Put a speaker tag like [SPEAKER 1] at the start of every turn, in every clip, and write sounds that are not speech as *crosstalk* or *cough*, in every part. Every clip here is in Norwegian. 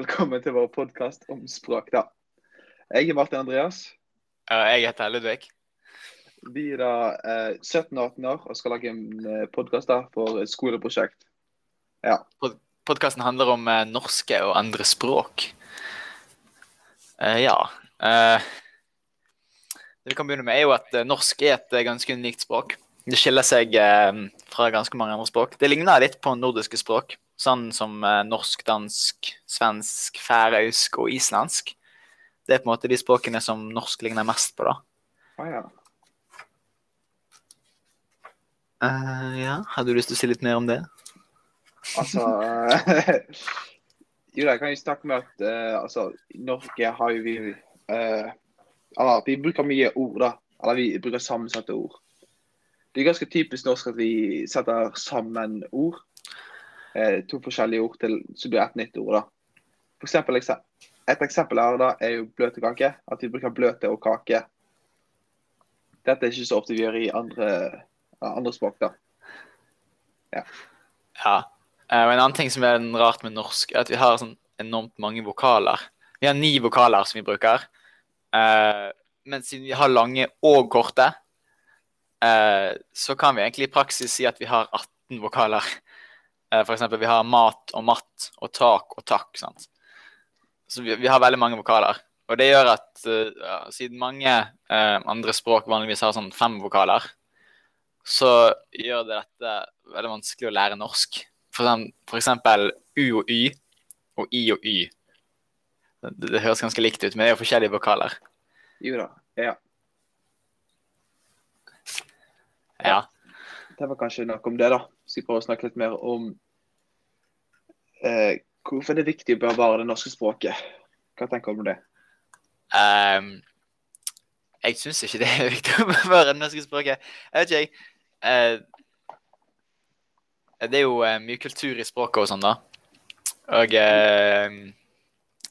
[SPEAKER 1] Velkommen til vår podkast om språk, da. Jeg er Martin Andreas.
[SPEAKER 2] Ja, Eh, Jeg heter Ludvig.
[SPEAKER 1] Vi er da eh, 17-18 år og skal lage en podkast for et skoleprosjekt.
[SPEAKER 2] Podkasten handler om eh, norske og andre språk. Eh, ja. eh, det vi kan begynne med, er jo at eh, norsk er et eh, ganske unikt språk. Det skiller seg eh, fra ganske mange andre språk. Det ligner litt på nordiske språk, sånn som eh, norsk, dansk, svensk, færøysk og islandsk. Det er på en måte de språkene som norsk ligner mest på, da.
[SPEAKER 1] Ah, ja.
[SPEAKER 2] Eh, ja, Hadde du lyst til å si litt mer om det?
[SPEAKER 1] Altså eh, *laughs* Jo, da kan jeg snakke med at eh, altså, i Norge har jo vi eh, ah, Vi bruker mye ord, da. Eller vi bruker sammensatte ord. Det er ganske typisk norsk at vi setter sammen ord. Eh, to forskjellige ord til så blir det et nytt ord, da. For eksempel, ekse- et eksempel her da er jo bløtkake. At vi bruker bløte og kake. Dette er ikke så ofte vi gjør i andre, andre språk, da.
[SPEAKER 2] Ja. Eh, Og en annen ting som er rart med norsk, er at vi har sånn enormt mange vokaler. Vi har ni vokaler som vi bruker. Eh, men siden vi har lange og korte, eh, så kan vi egentlig i praksis si at vi har 18 vokaler. Eh, for eksempel vi har mat og matt og tak og takk. sant? Så vi, vi har veldig mange vokaler. Og det gjør at eh, ja, siden mange eh, andre språk vanligvis har sånn fem vokaler, så gjør det dette veldig vanskelig å lære norsk. For, eksem- for eksempel U og Y og I og Y. Det, det høres ganske likt ut, men det er jo forskjellige vokaler.
[SPEAKER 1] Jo da. Ja.
[SPEAKER 2] Ja.
[SPEAKER 1] Det var kanskje nok om det, da. Skal vi prøve å snakke litt mer om eh, hvorfor det er viktig å bevare det norske språket. Hva tenker du om det?
[SPEAKER 2] Ehm, jeg syns ikke det er viktig å bevare det norske språket. Jeg vet ikke, jeg. Eh, det er jo eh, mye kultur i språket og sånn, da. Og eh,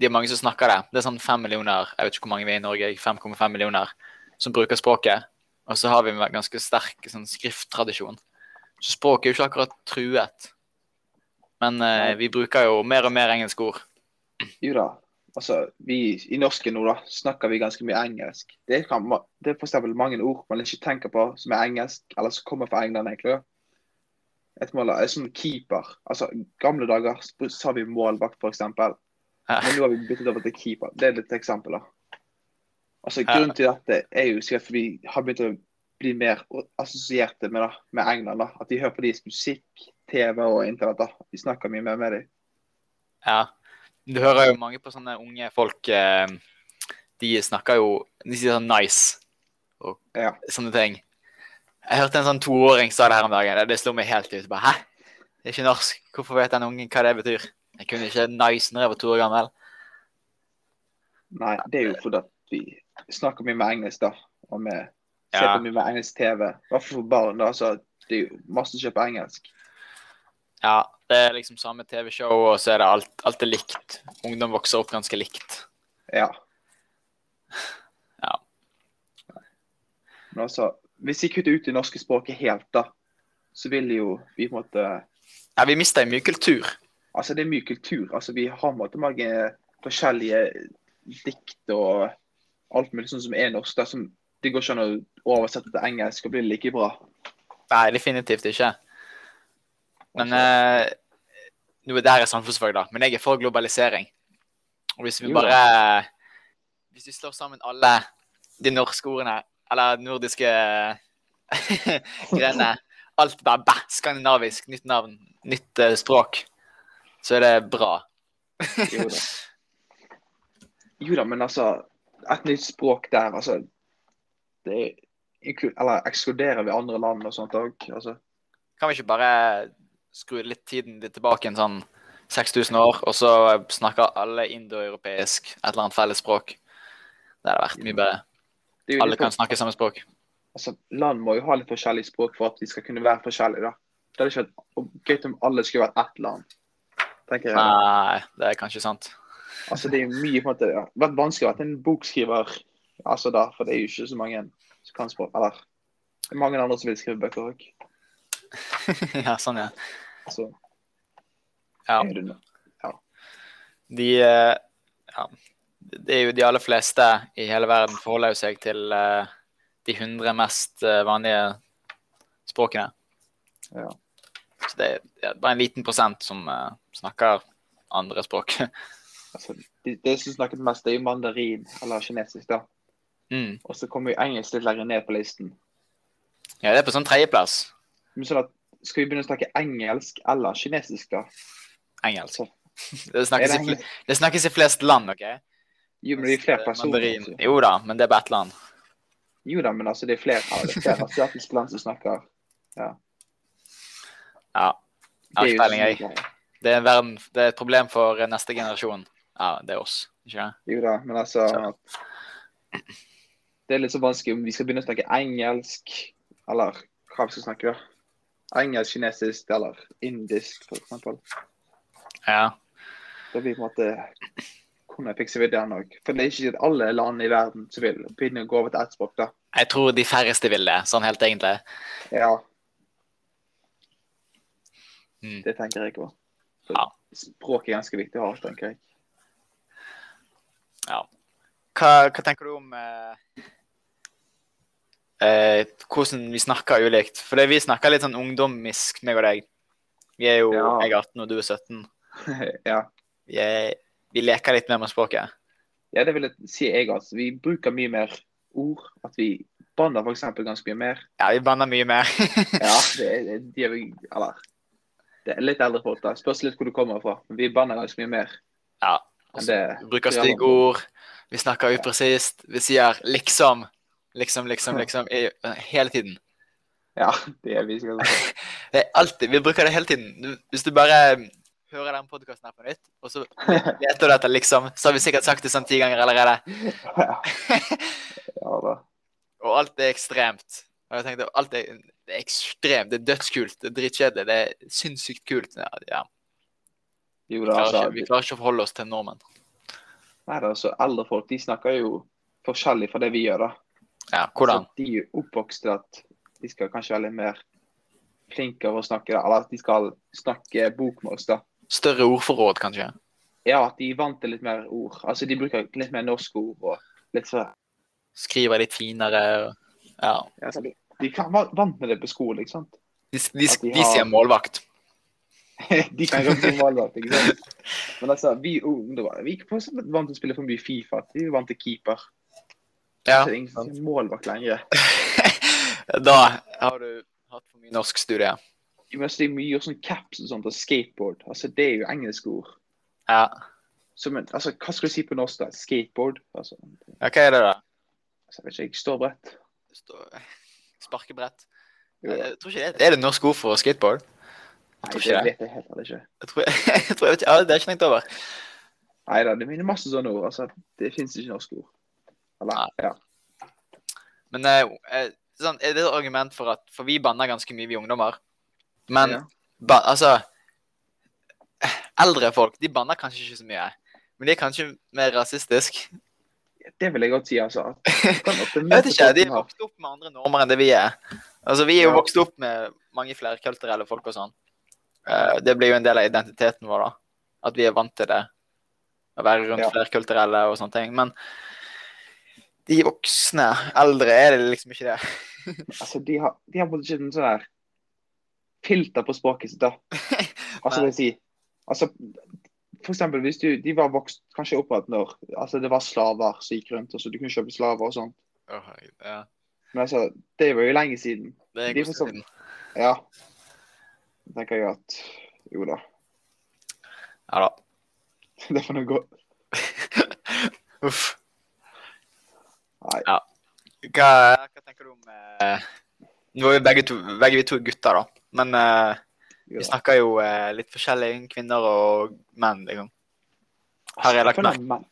[SPEAKER 2] det er mange som snakker det. Det er sånn fem millioner, jeg vet ikke hvor mange vi er i Norge, 5,5 millioner som bruker språket. Og så har vi en ganske sterk sånn, skrifttradisjon. Så språket er jo ikke akkurat truet. Men eh, vi bruker jo mer og mer engelske ord.
[SPEAKER 1] Jo da, altså vi i norsken nå, da, snakker vi ganske mye engelsk. Det, kan, ma- det er f.eks. mange ord man ikke tenker på som er engelsk, eller som kommer fra England, egentlig. da. Et mål er som keeper. Altså, i gamle dager sp- sa vi målvakt, f.eks. Men
[SPEAKER 2] Ja.
[SPEAKER 1] nå har vi byttet over til keeper. Det er litt eksempel, da. Altså, grunnen til dette er jo sikkert at vi har begynt å bli mer assosierte med, da, med England. da. At de hører på deres musikk, TV og internett. da. Vi snakker mye mer med dem.
[SPEAKER 2] Ja. Du hører jo mange på sånne unge folk eh, De snakker jo De sier sånn 'nice' og
[SPEAKER 1] Ja.
[SPEAKER 2] sånne ting. Jeg hørte en sånn toåring sa det her om dagen. Det- Det slo meg helt ut. Bare, Hæ? Det er ikke norsk. Hvorfor vet den ungen hva det betyr? Jeg kunne ikke 'nice' når jeg var to år gammel.
[SPEAKER 1] Nei, det er jo fordi at vi snakker mye med engelsk, da. Og vi ser
[SPEAKER 2] Ja.
[SPEAKER 1] på mye med engelsk TV. I hvert fall for barn. da, altså, Det er jo masse som kjøper engelsk.
[SPEAKER 2] Ja, Det er liksom samme TV-show, og så er det alt, alt er likt. Ungdom vokser opp ganske likt.
[SPEAKER 1] Ja.
[SPEAKER 2] Ja.
[SPEAKER 1] Men altså, hvis vi kutter ut det norske språket helt, da, så vil jo vi på en måte
[SPEAKER 2] Ja, Vi mister jo mye kultur.
[SPEAKER 1] Altså, det er mye kultur. Altså, vi har på en måte mange forskjellige dikt og alt mulig sånn som er norsk. Da, som det går ikke an å oversette til engelsk og bli like bra.
[SPEAKER 2] Nei, definitivt ikke. Men eh, nå er der er samfunnsfag, da. Men jeg er for globalisering. Og hvis vi
[SPEAKER 1] Jo da.
[SPEAKER 2] bare Hvis vi slår sammen alle de norske ordene, eller nordiske *laughs* greiene Alt bare bæ, skandinavisk, nytt navn, nytt eh, språk. Så er det bra.
[SPEAKER 1] Jo da. Jo da, men altså Et nytt språk der, altså Det inklu- Eller ekskluderer vi andre land og sånt òg? Altså,
[SPEAKER 2] Kan vi ikke bare skru litt tiden litt tilbake en sånn 6000 år, og så snakker alle indoeuropeisk, et eller annet felles språk? Det hadde vært mye bedre.
[SPEAKER 1] det er jo
[SPEAKER 2] Alle
[SPEAKER 1] litt
[SPEAKER 2] kan
[SPEAKER 1] for-
[SPEAKER 2] snakke samme språk.
[SPEAKER 1] altså, land må jo ha litt forskjellig språk for at de skal kunne være forskjellige, da. Det hadde ikke vært gøy om alle skulle vært ett land, tenker jeg.
[SPEAKER 2] Nei, det er kanskje sant. *laughs*
[SPEAKER 1] Altså, det er jo mye på en måte ja. Det har vært vanskelig å være en bokskriver, altså da, for det er jo ikke så mange som kan språk. Eller det er mange andre som vil skrive bøker òg.
[SPEAKER 2] ja, sånn, ja.
[SPEAKER 1] Så
[SPEAKER 2] Ja.
[SPEAKER 1] er det noe.
[SPEAKER 2] De eh, ja, Det er jo de aller fleste i hele verden forholder jo seg til eh, de 100 mest eh, vanlige språkene.
[SPEAKER 1] Ja.
[SPEAKER 2] Så det er ja, bare en liten prosent som eh, snakker andre språk. *laughs*
[SPEAKER 1] Altså, de, de som snakket mest, det er jo mandarin eller kinesisk, da.
[SPEAKER 2] mm.
[SPEAKER 1] Og så kommer jo engelsk litt lenger ned på listen.
[SPEAKER 2] Ja, det er på sånn tredjeplass.
[SPEAKER 1] Men sånn at skal vi begynne å snakke engelsk eller kinesisk, da?
[SPEAKER 2] Engelsk.
[SPEAKER 1] Så-
[SPEAKER 2] Det
[SPEAKER 1] Er
[SPEAKER 2] snakkes,
[SPEAKER 1] det
[SPEAKER 2] i, fl-
[SPEAKER 1] engelsk?
[SPEAKER 2] det snakkes i flest land, OK?
[SPEAKER 1] Jo, men det er jo flere personer.
[SPEAKER 2] eh, Mandarin.
[SPEAKER 1] altså.
[SPEAKER 2] Jo da, men det er bare ett land.
[SPEAKER 1] Jo da, men altså, det er flere, ja,
[SPEAKER 2] *laughs*
[SPEAKER 1] det er flere asiatiske land som snakker
[SPEAKER 2] Ja.
[SPEAKER 1] Det er jo
[SPEAKER 2] Avspeiling, eh.
[SPEAKER 1] ikke så
[SPEAKER 2] jeg.
[SPEAKER 1] mye.
[SPEAKER 2] Det er, en verden, det er et problem for eh, neste generasjon. Ja, det er oss. Ikke det?
[SPEAKER 1] Jo da, men altså
[SPEAKER 2] Så.
[SPEAKER 1] Det er litt så vanskelig om vi skal begynne å snakke engelsk, eller hva vi skal snakke, da. Engelsk, kinesisk eller indisk, for eksempel.
[SPEAKER 2] Ja.
[SPEAKER 1] Da blir det på en måte Hvordan fikser vi den òg? For det er ikke sikkert alle land i verden som vil begynne å gå over til ett språk, da.
[SPEAKER 2] Jeg tror de færreste vil det, sånn helt egentlig.
[SPEAKER 1] Ja,
[SPEAKER 2] Mm.
[SPEAKER 1] det tenker jeg òg.
[SPEAKER 2] Ja.
[SPEAKER 1] Språk er ganske viktig å ha, tenker jeg. *laughs*
[SPEAKER 2] Hva, hva tenker du om eh, eh, hvordan vi snakker ulikt? For det, vi snakker litt sånn ungdommisk, meg og deg. Vi er jo,
[SPEAKER 1] Ja.
[SPEAKER 2] Jeg er 18, og du er 17.
[SPEAKER 1] ja.
[SPEAKER 2] Vi, er, vi leker litt mer med språket.
[SPEAKER 1] ja, det vil jeg si jeg, altså. Vi bruker mye mer ord. At vi banner f.eks. ganske mye mer.
[SPEAKER 2] Ja, vi banner mye mer. *laughs*
[SPEAKER 1] Ja, det er, de er, vi- eller, det er litt eldre folk, da. Spørs litt hvor du kommer fra. Men vi banner ganske mye mer
[SPEAKER 2] ja.
[SPEAKER 1] enn det.
[SPEAKER 2] Vi bruker stygge ord. Vi snakker upresist. Vi sier liksom, liksom, liksom, liksom i- hele tiden.
[SPEAKER 1] Ja, det er vi sikkert. *laughs*
[SPEAKER 2] Det er alltid, Vi bruker det hele tiden. Du- Hvis du bare mm, hører den podkasten her på nytt,
[SPEAKER 1] *laughs*
[SPEAKER 2] og så leter du etter liksom, så har vi sikkert sagt det sånn ti ganger allerede. *laughs*
[SPEAKER 1] Ja da.
[SPEAKER 2] Og alt er ekstremt. Og jeg tenkte, alt er, det er ekstremt, det er dødskult, det er dritkjedelig, det er sinnssykt kult. Ja, ja.
[SPEAKER 1] Jo
[SPEAKER 2] Vi,
[SPEAKER 1] da,
[SPEAKER 2] klarer
[SPEAKER 1] altså.
[SPEAKER 2] ikke, vi klarer ikke å forholde oss til nordmenn.
[SPEAKER 1] Nei, da, så eldre folk de snakker jo forskjellig fra det vi gjør, da.
[SPEAKER 2] Ja, hvordan?
[SPEAKER 1] Så de er jo oppvokst til at de skal kanskje være litt mer flinkere å snakke, da. eller at de skal snakke bokmåls. da.
[SPEAKER 2] Større ordforråd, kanskje?
[SPEAKER 1] Ja, at de er vant til litt mer ord. Altså, De bruker litt mer norske ord. og litt sånn. så...
[SPEAKER 2] Skriver litt finere. og- Ja.
[SPEAKER 1] Ja, så de, de kan være vant med det på skolen, ikke sant? *laughs*
[SPEAKER 2] De, de,
[SPEAKER 1] At de
[SPEAKER 2] de sier
[SPEAKER 1] har-
[SPEAKER 2] målvakt.
[SPEAKER 1] De kan *laughs* godt bli målvakt, ikke sant? Men altså, vi ungdommer vi er ikke for eksempel vant til å spille for mye Fifa. Vi er vant til keeper.
[SPEAKER 2] Ja.
[SPEAKER 1] Så det er ingen som er målvakt lenger.
[SPEAKER 2] *laughs* Da har du hatt for mye norskstudie.
[SPEAKER 1] Jo, Men altså, det er mye gjort sånn caps og sånt, og skateboard. Altså, Det er jo engelske ord.
[SPEAKER 2] Ja.
[SPEAKER 1] Så, men, altså, Hva skal du si på norsk, da? Skateboard? Altså,
[SPEAKER 2] Ja, Hva er det, da?
[SPEAKER 1] altså jeg vet ikke, jeg står bredt.
[SPEAKER 2] Stå- Sparkebrett.
[SPEAKER 1] Jo,
[SPEAKER 2] Jeg tror ikke det. Er det et norsk ord for skateboard?
[SPEAKER 1] Nei,
[SPEAKER 2] tror ikke
[SPEAKER 1] det
[SPEAKER 2] det.
[SPEAKER 1] vet jeg helt ærlig ikke.
[SPEAKER 2] Jeg tror, *laughs* jeg tror jeg vet ikke. Ja, det har jeg ikke tenkt over.
[SPEAKER 1] Nei da, det minner masse sånne ord. altså, Det fins ikke norske ord. Eller,
[SPEAKER 2] Nei.
[SPEAKER 1] ja.
[SPEAKER 2] Men eh, eh, sånn, er det et argument for at For vi banner ganske mye, vi ungdommer. Men
[SPEAKER 1] ja.
[SPEAKER 2] ba, altså eh, Eldre folk de banner kanskje ikke så mye. Men de er kanskje mer rasistiske.
[SPEAKER 1] Det vil jeg godt si, altså. at du kan ofte
[SPEAKER 2] *laughs* Jeg vet
[SPEAKER 1] møte
[SPEAKER 2] ikke,
[SPEAKER 1] folk
[SPEAKER 2] De
[SPEAKER 1] som
[SPEAKER 2] er
[SPEAKER 1] har-
[SPEAKER 2] vokst opp med andre normer enn det vi er. Altså, Vi er jo
[SPEAKER 1] Ja.
[SPEAKER 2] vokst opp med mange flerkulturelle folk og sånn. Eh, det blir jo en del av identiteten vår, da. At vi er vant til det. Å være rundt
[SPEAKER 1] Ja.
[SPEAKER 2] flerkulturelle og sånne ting. Men de voksne, eldre, er det liksom ikke det.
[SPEAKER 1] Altså, de har, de har på en måte ikke en sånn der filter på språket
[SPEAKER 2] *laughs*
[SPEAKER 1] sitt, da. Altså, det
[SPEAKER 2] Nei.
[SPEAKER 1] vil si Altså, for eksempel hvis du De var vokst kanskje opp med at når Altså, det var slaver som gikk rundt, og så du kunne kjøpe slaver og sånn.
[SPEAKER 2] ja.
[SPEAKER 1] Men altså, det var jo lenge siden.
[SPEAKER 2] Det er
[SPEAKER 1] De
[SPEAKER 2] en god
[SPEAKER 1] forstår-
[SPEAKER 2] stund.
[SPEAKER 1] Ja. Da tenker jeg at Jo da. *laughs*
[SPEAKER 2] Ja da.
[SPEAKER 1] Det får nå gå.
[SPEAKER 2] Uff.
[SPEAKER 1] Nei.
[SPEAKER 2] Ja. Hva, hva tenker du om eh, Nå er vi begge to, begge vi to er gutter, da. Men eh,
[SPEAKER 1] Jo
[SPEAKER 2] vi
[SPEAKER 1] da.
[SPEAKER 2] snakker jo eh, litt forskjellig om kvinner og menn, liksom. Har jeg lagt
[SPEAKER 1] føler
[SPEAKER 2] merke-
[SPEAKER 1] menn-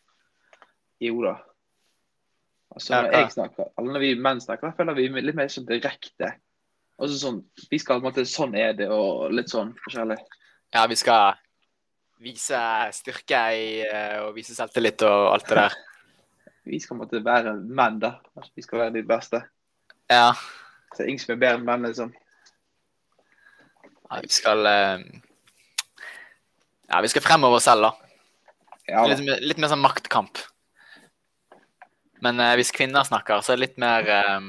[SPEAKER 1] Jo da. Altså,
[SPEAKER 2] Ja,
[SPEAKER 1] når
[SPEAKER 2] hva?
[SPEAKER 1] jeg snakker, eller når vi menn snakker, føler vi er litt mer sånn direkte. Altså sånn, Vi skal på en måte Sånn er det, og litt sånn forskjellig.
[SPEAKER 2] Ja, vi skal vise styrke i, eh, og vise selvtillit og alt det der.
[SPEAKER 1] Vi skal på en måte være menn, da. Altså, vi skal være de beste.
[SPEAKER 2] *laughs* Ja.
[SPEAKER 1] Så ingen som er bedre enn menn, liksom.
[SPEAKER 2] ja vi skal eh, Ja, vi skal fremover selv, da.
[SPEAKER 1] Ja,
[SPEAKER 2] Litt,
[SPEAKER 1] da.
[SPEAKER 2] mer- litt mer sånn maktkamp. Men eh, hvis kvinner snakker, så er det litt mer eh,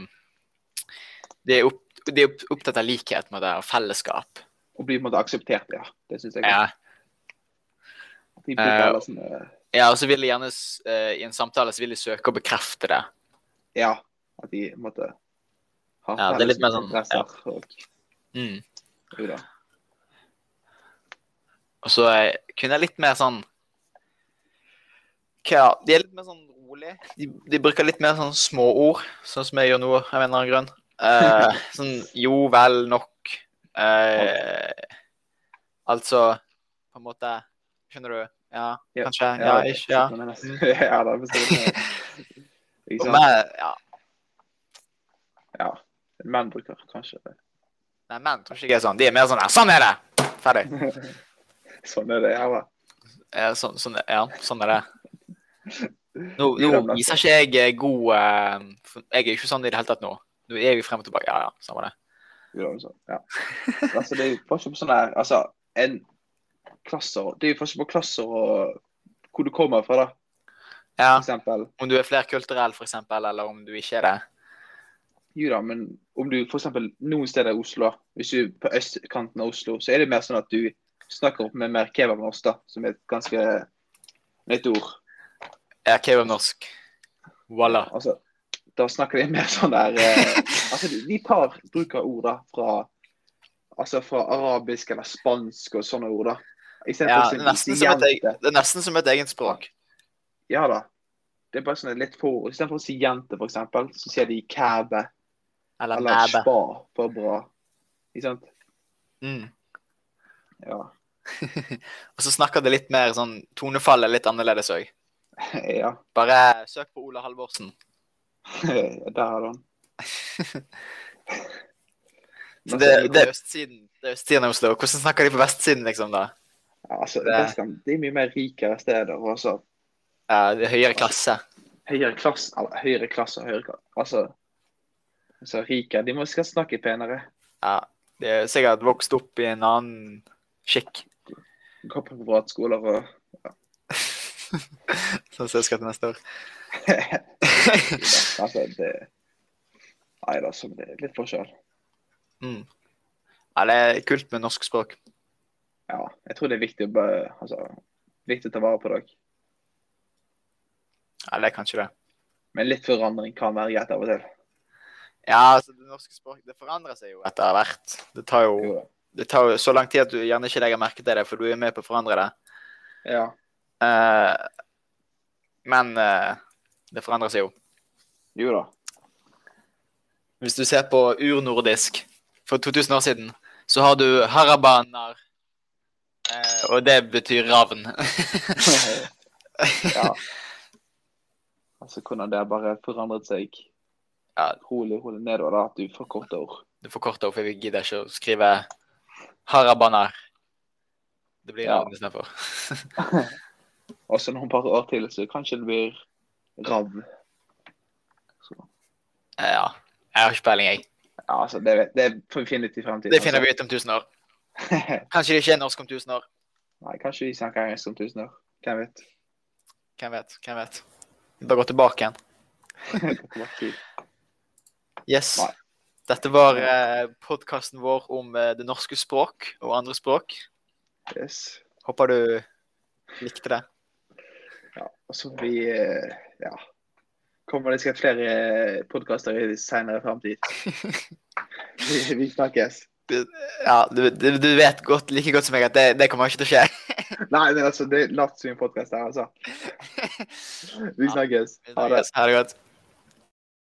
[SPEAKER 2] De er, opp, de er opp, opptatt av likhet med det, og fellesskap.
[SPEAKER 1] Og blir på en måte akseptert, ja. Det syns jeg.
[SPEAKER 2] Ja.
[SPEAKER 1] De sånn,
[SPEAKER 2] eh,
[SPEAKER 1] bruker alle sånne
[SPEAKER 2] ja, og så vil de gjerne s- eh, I en samtale så vil de søke å bekrefte det.
[SPEAKER 1] Ja. At de på en måte har
[SPEAKER 2] Ja, det er litt mer sånn, ja.
[SPEAKER 1] interesser. Og,
[SPEAKER 2] Mm.
[SPEAKER 1] jo da.
[SPEAKER 2] Og så eh, kunne jeg litt mer sånn Hva, De er litt mer sånn rolig. De, de bruker litt mer sånn småord, sånn som jeg gjør nå, av en eller annen grunn. Eh, *laughs* sånn jo, vel, nok. Eh, altså På en måte Skjønner du? Ja,
[SPEAKER 1] Ja,
[SPEAKER 2] kanskje? Ja, ikke? sånn. Ja.
[SPEAKER 1] Men, altså, *laughs* ja da, forstår jeg. Ikke
[SPEAKER 2] Og
[SPEAKER 1] sant?
[SPEAKER 2] meg- ja.
[SPEAKER 1] Ja. Menn bruker kanskje
[SPEAKER 2] Nei, menn tror ikke jeg er sånn. De er mer sånn ja, Sånn er det! Ferdig.
[SPEAKER 1] Sånn er det her, da.
[SPEAKER 2] Eh, Sånn, sånn, ja, sånn er det.
[SPEAKER 1] Det er
[SPEAKER 2] Nå, nå
[SPEAKER 1] det beste.
[SPEAKER 2] viser ikke jeg eh, god eh, for Jeg er jo ikke sånn i det hele tatt nå. Nå er jeg jo frem og tilbake. Ja, ja, samme det.
[SPEAKER 1] Jo da, sånn,
[SPEAKER 2] *laughs*
[SPEAKER 1] Ja. Altså, det er jo forskjell på sånn her Altså, en klasser Det er jo forskjell på klasser og hvor du kommer fra, da,
[SPEAKER 2] Ja,
[SPEAKER 1] for eksempel.
[SPEAKER 2] Om du er flerkulturell, for eksempel, eller om du ikke er det.
[SPEAKER 1] Jo da, men om du f.eks. noen steder i Oslo, hvis du er på østkanten av Oslo, så er det mer sånn at du snakker opp med mer kebab enn oss, da, som er et ganske nytt ord.
[SPEAKER 2] Er kebabnorsk. Voilà.
[SPEAKER 1] Altså, da snakker de mer sånn der
[SPEAKER 2] *laughs*
[SPEAKER 1] eh, Altså, de- de tar bruk av ord da, fra Altså fra arabisk eller spansk og sånne ord, da.
[SPEAKER 2] Ja,
[SPEAKER 1] Istedenfor
[SPEAKER 2] det, er
[SPEAKER 1] ja,
[SPEAKER 2] nesten som et, eg- det er nesten som et eget språk.
[SPEAKER 1] Ja da. Det er bare sånn litt for Istedenfor å si jente, for eksempel, så sier de kæbe
[SPEAKER 2] Eller
[SPEAKER 1] eller
[SPEAKER 2] mæbe.
[SPEAKER 1] spa for bra. Ikke sant?
[SPEAKER 2] Mm.
[SPEAKER 1] Ja. *laughs*
[SPEAKER 2] Og så snakker det litt mer sånn Tonefallet er litt annerledes òg.
[SPEAKER 1] ja. *laughs*
[SPEAKER 2] Bare eh, søk på Ola Halvorsen.
[SPEAKER 1] Der har du
[SPEAKER 2] *laughs*
[SPEAKER 1] den.
[SPEAKER 2] Så
[SPEAKER 1] Men
[SPEAKER 2] det,
[SPEAKER 1] altså,
[SPEAKER 2] det er østsiden Det er østsiden av Oslo. Hvordan snakker de på vestsiden, liksom, da?
[SPEAKER 1] altså,
[SPEAKER 2] det-
[SPEAKER 1] Vestland, det er mye mer rikere steder. og altså,
[SPEAKER 2] Ja, Eh, det er høyere klasse.
[SPEAKER 1] Høyere klasse eller høyere klasse og høyere klasse. Altså, altså rikere De må skal snakke penere.
[SPEAKER 2] Ja, de er sikkert vokst opp i en annen skikk.
[SPEAKER 1] Gå på privatskoler og
[SPEAKER 2] Sånn som jeg skal til neste år.
[SPEAKER 1] Altså, det Nei da, så det er litt forskjell.
[SPEAKER 2] mm. Ja, det er kult med norsk språk.
[SPEAKER 1] Ja. Jeg tror det er viktig å bare Altså, viktig å ta vare på dere.
[SPEAKER 2] Ja, det er kanskje det.
[SPEAKER 1] Men litt forandring kan være greit av og til.
[SPEAKER 2] Ja, altså det norske språket det forandrer seg jo etter hvert. Det tar jo,
[SPEAKER 1] Jo da.
[SPEAKER 2] det tar jo så lang tid at du gjerne ikke legger merke til det, for du er med på å forandre det.
[SPEAKER 1] Ja.
[SPEAKER 2] Eh, men eh, det forandrer seg jo.
[SPEAKER 1] Jo da.
[SPEAKER 2] Hvis du ser på urnordisk for 2000 år siden, så har du harabanar, eh, og det betyr ravn.
[SPEAKER 1] ja. Altså hvordan det har bare forandret seg
[SPEAKER 2] Ja.
[SPEAKER 1] rolig, rolig nedover. da, At du forkorter ord.
[SPEAKER 2] Du forkorter opp, for vi gidder ikke å skrive harabanar. Det blir
[SPEAKER 1] Ja.
[SPEAKER 2] ravn istedenfor.
[SPEAKER 1] Og så noen par år til, så kanskje det blir rav. Så,
[SPEAKER 2] Eh, ja. Jeg har ikke peiling, jeg.
[SPEAKER 1] ja, altså, det, vet- det får vi finne ut i fremtiden.
[SPEAKER 2] Det finner vi ut om 1000 *laughs* år.
[SPEAKER 1] Altså.
[SPEAKER 2] Kanskje det ikke er norsk om 1000 år.
[SPEAKER 1] Nei, kanskje vi snakker engelsk om tusen år. Hvem vet.
[SPEAKER 2] Hvem vet? Hvem vet? Vi bare gå tilbake igjen. Yes.
[SPEAKER 1] Nei.
[SPEAKER 2] Dette var eh, podkasten vår om eh, det norske språk og andre språk.
[SPEAKER 1] yes.
[SPEAKER 2] Håper du likte det.
[SPEAKER 1] ja, og så får vi eh, Ja. Kommer det sikkert flere podkaster i senere
[SPEAKER 2] *laughs*
[SPEAKER 1] fremtid. Vi, vi snakkes.
[SPEAKER 2] Ja, du, du, du vet godt, like godt som meg at det, det kommer ikke til å skje.
[SPEAKER 1] Nei,
[SPEAKER 2] *laughs*
[SPEAKER 1] men altså, det er latt som en podkast her, altså. Vi snakkes. Ha det.
[SPEAKER 2] Yes, Ha det godt.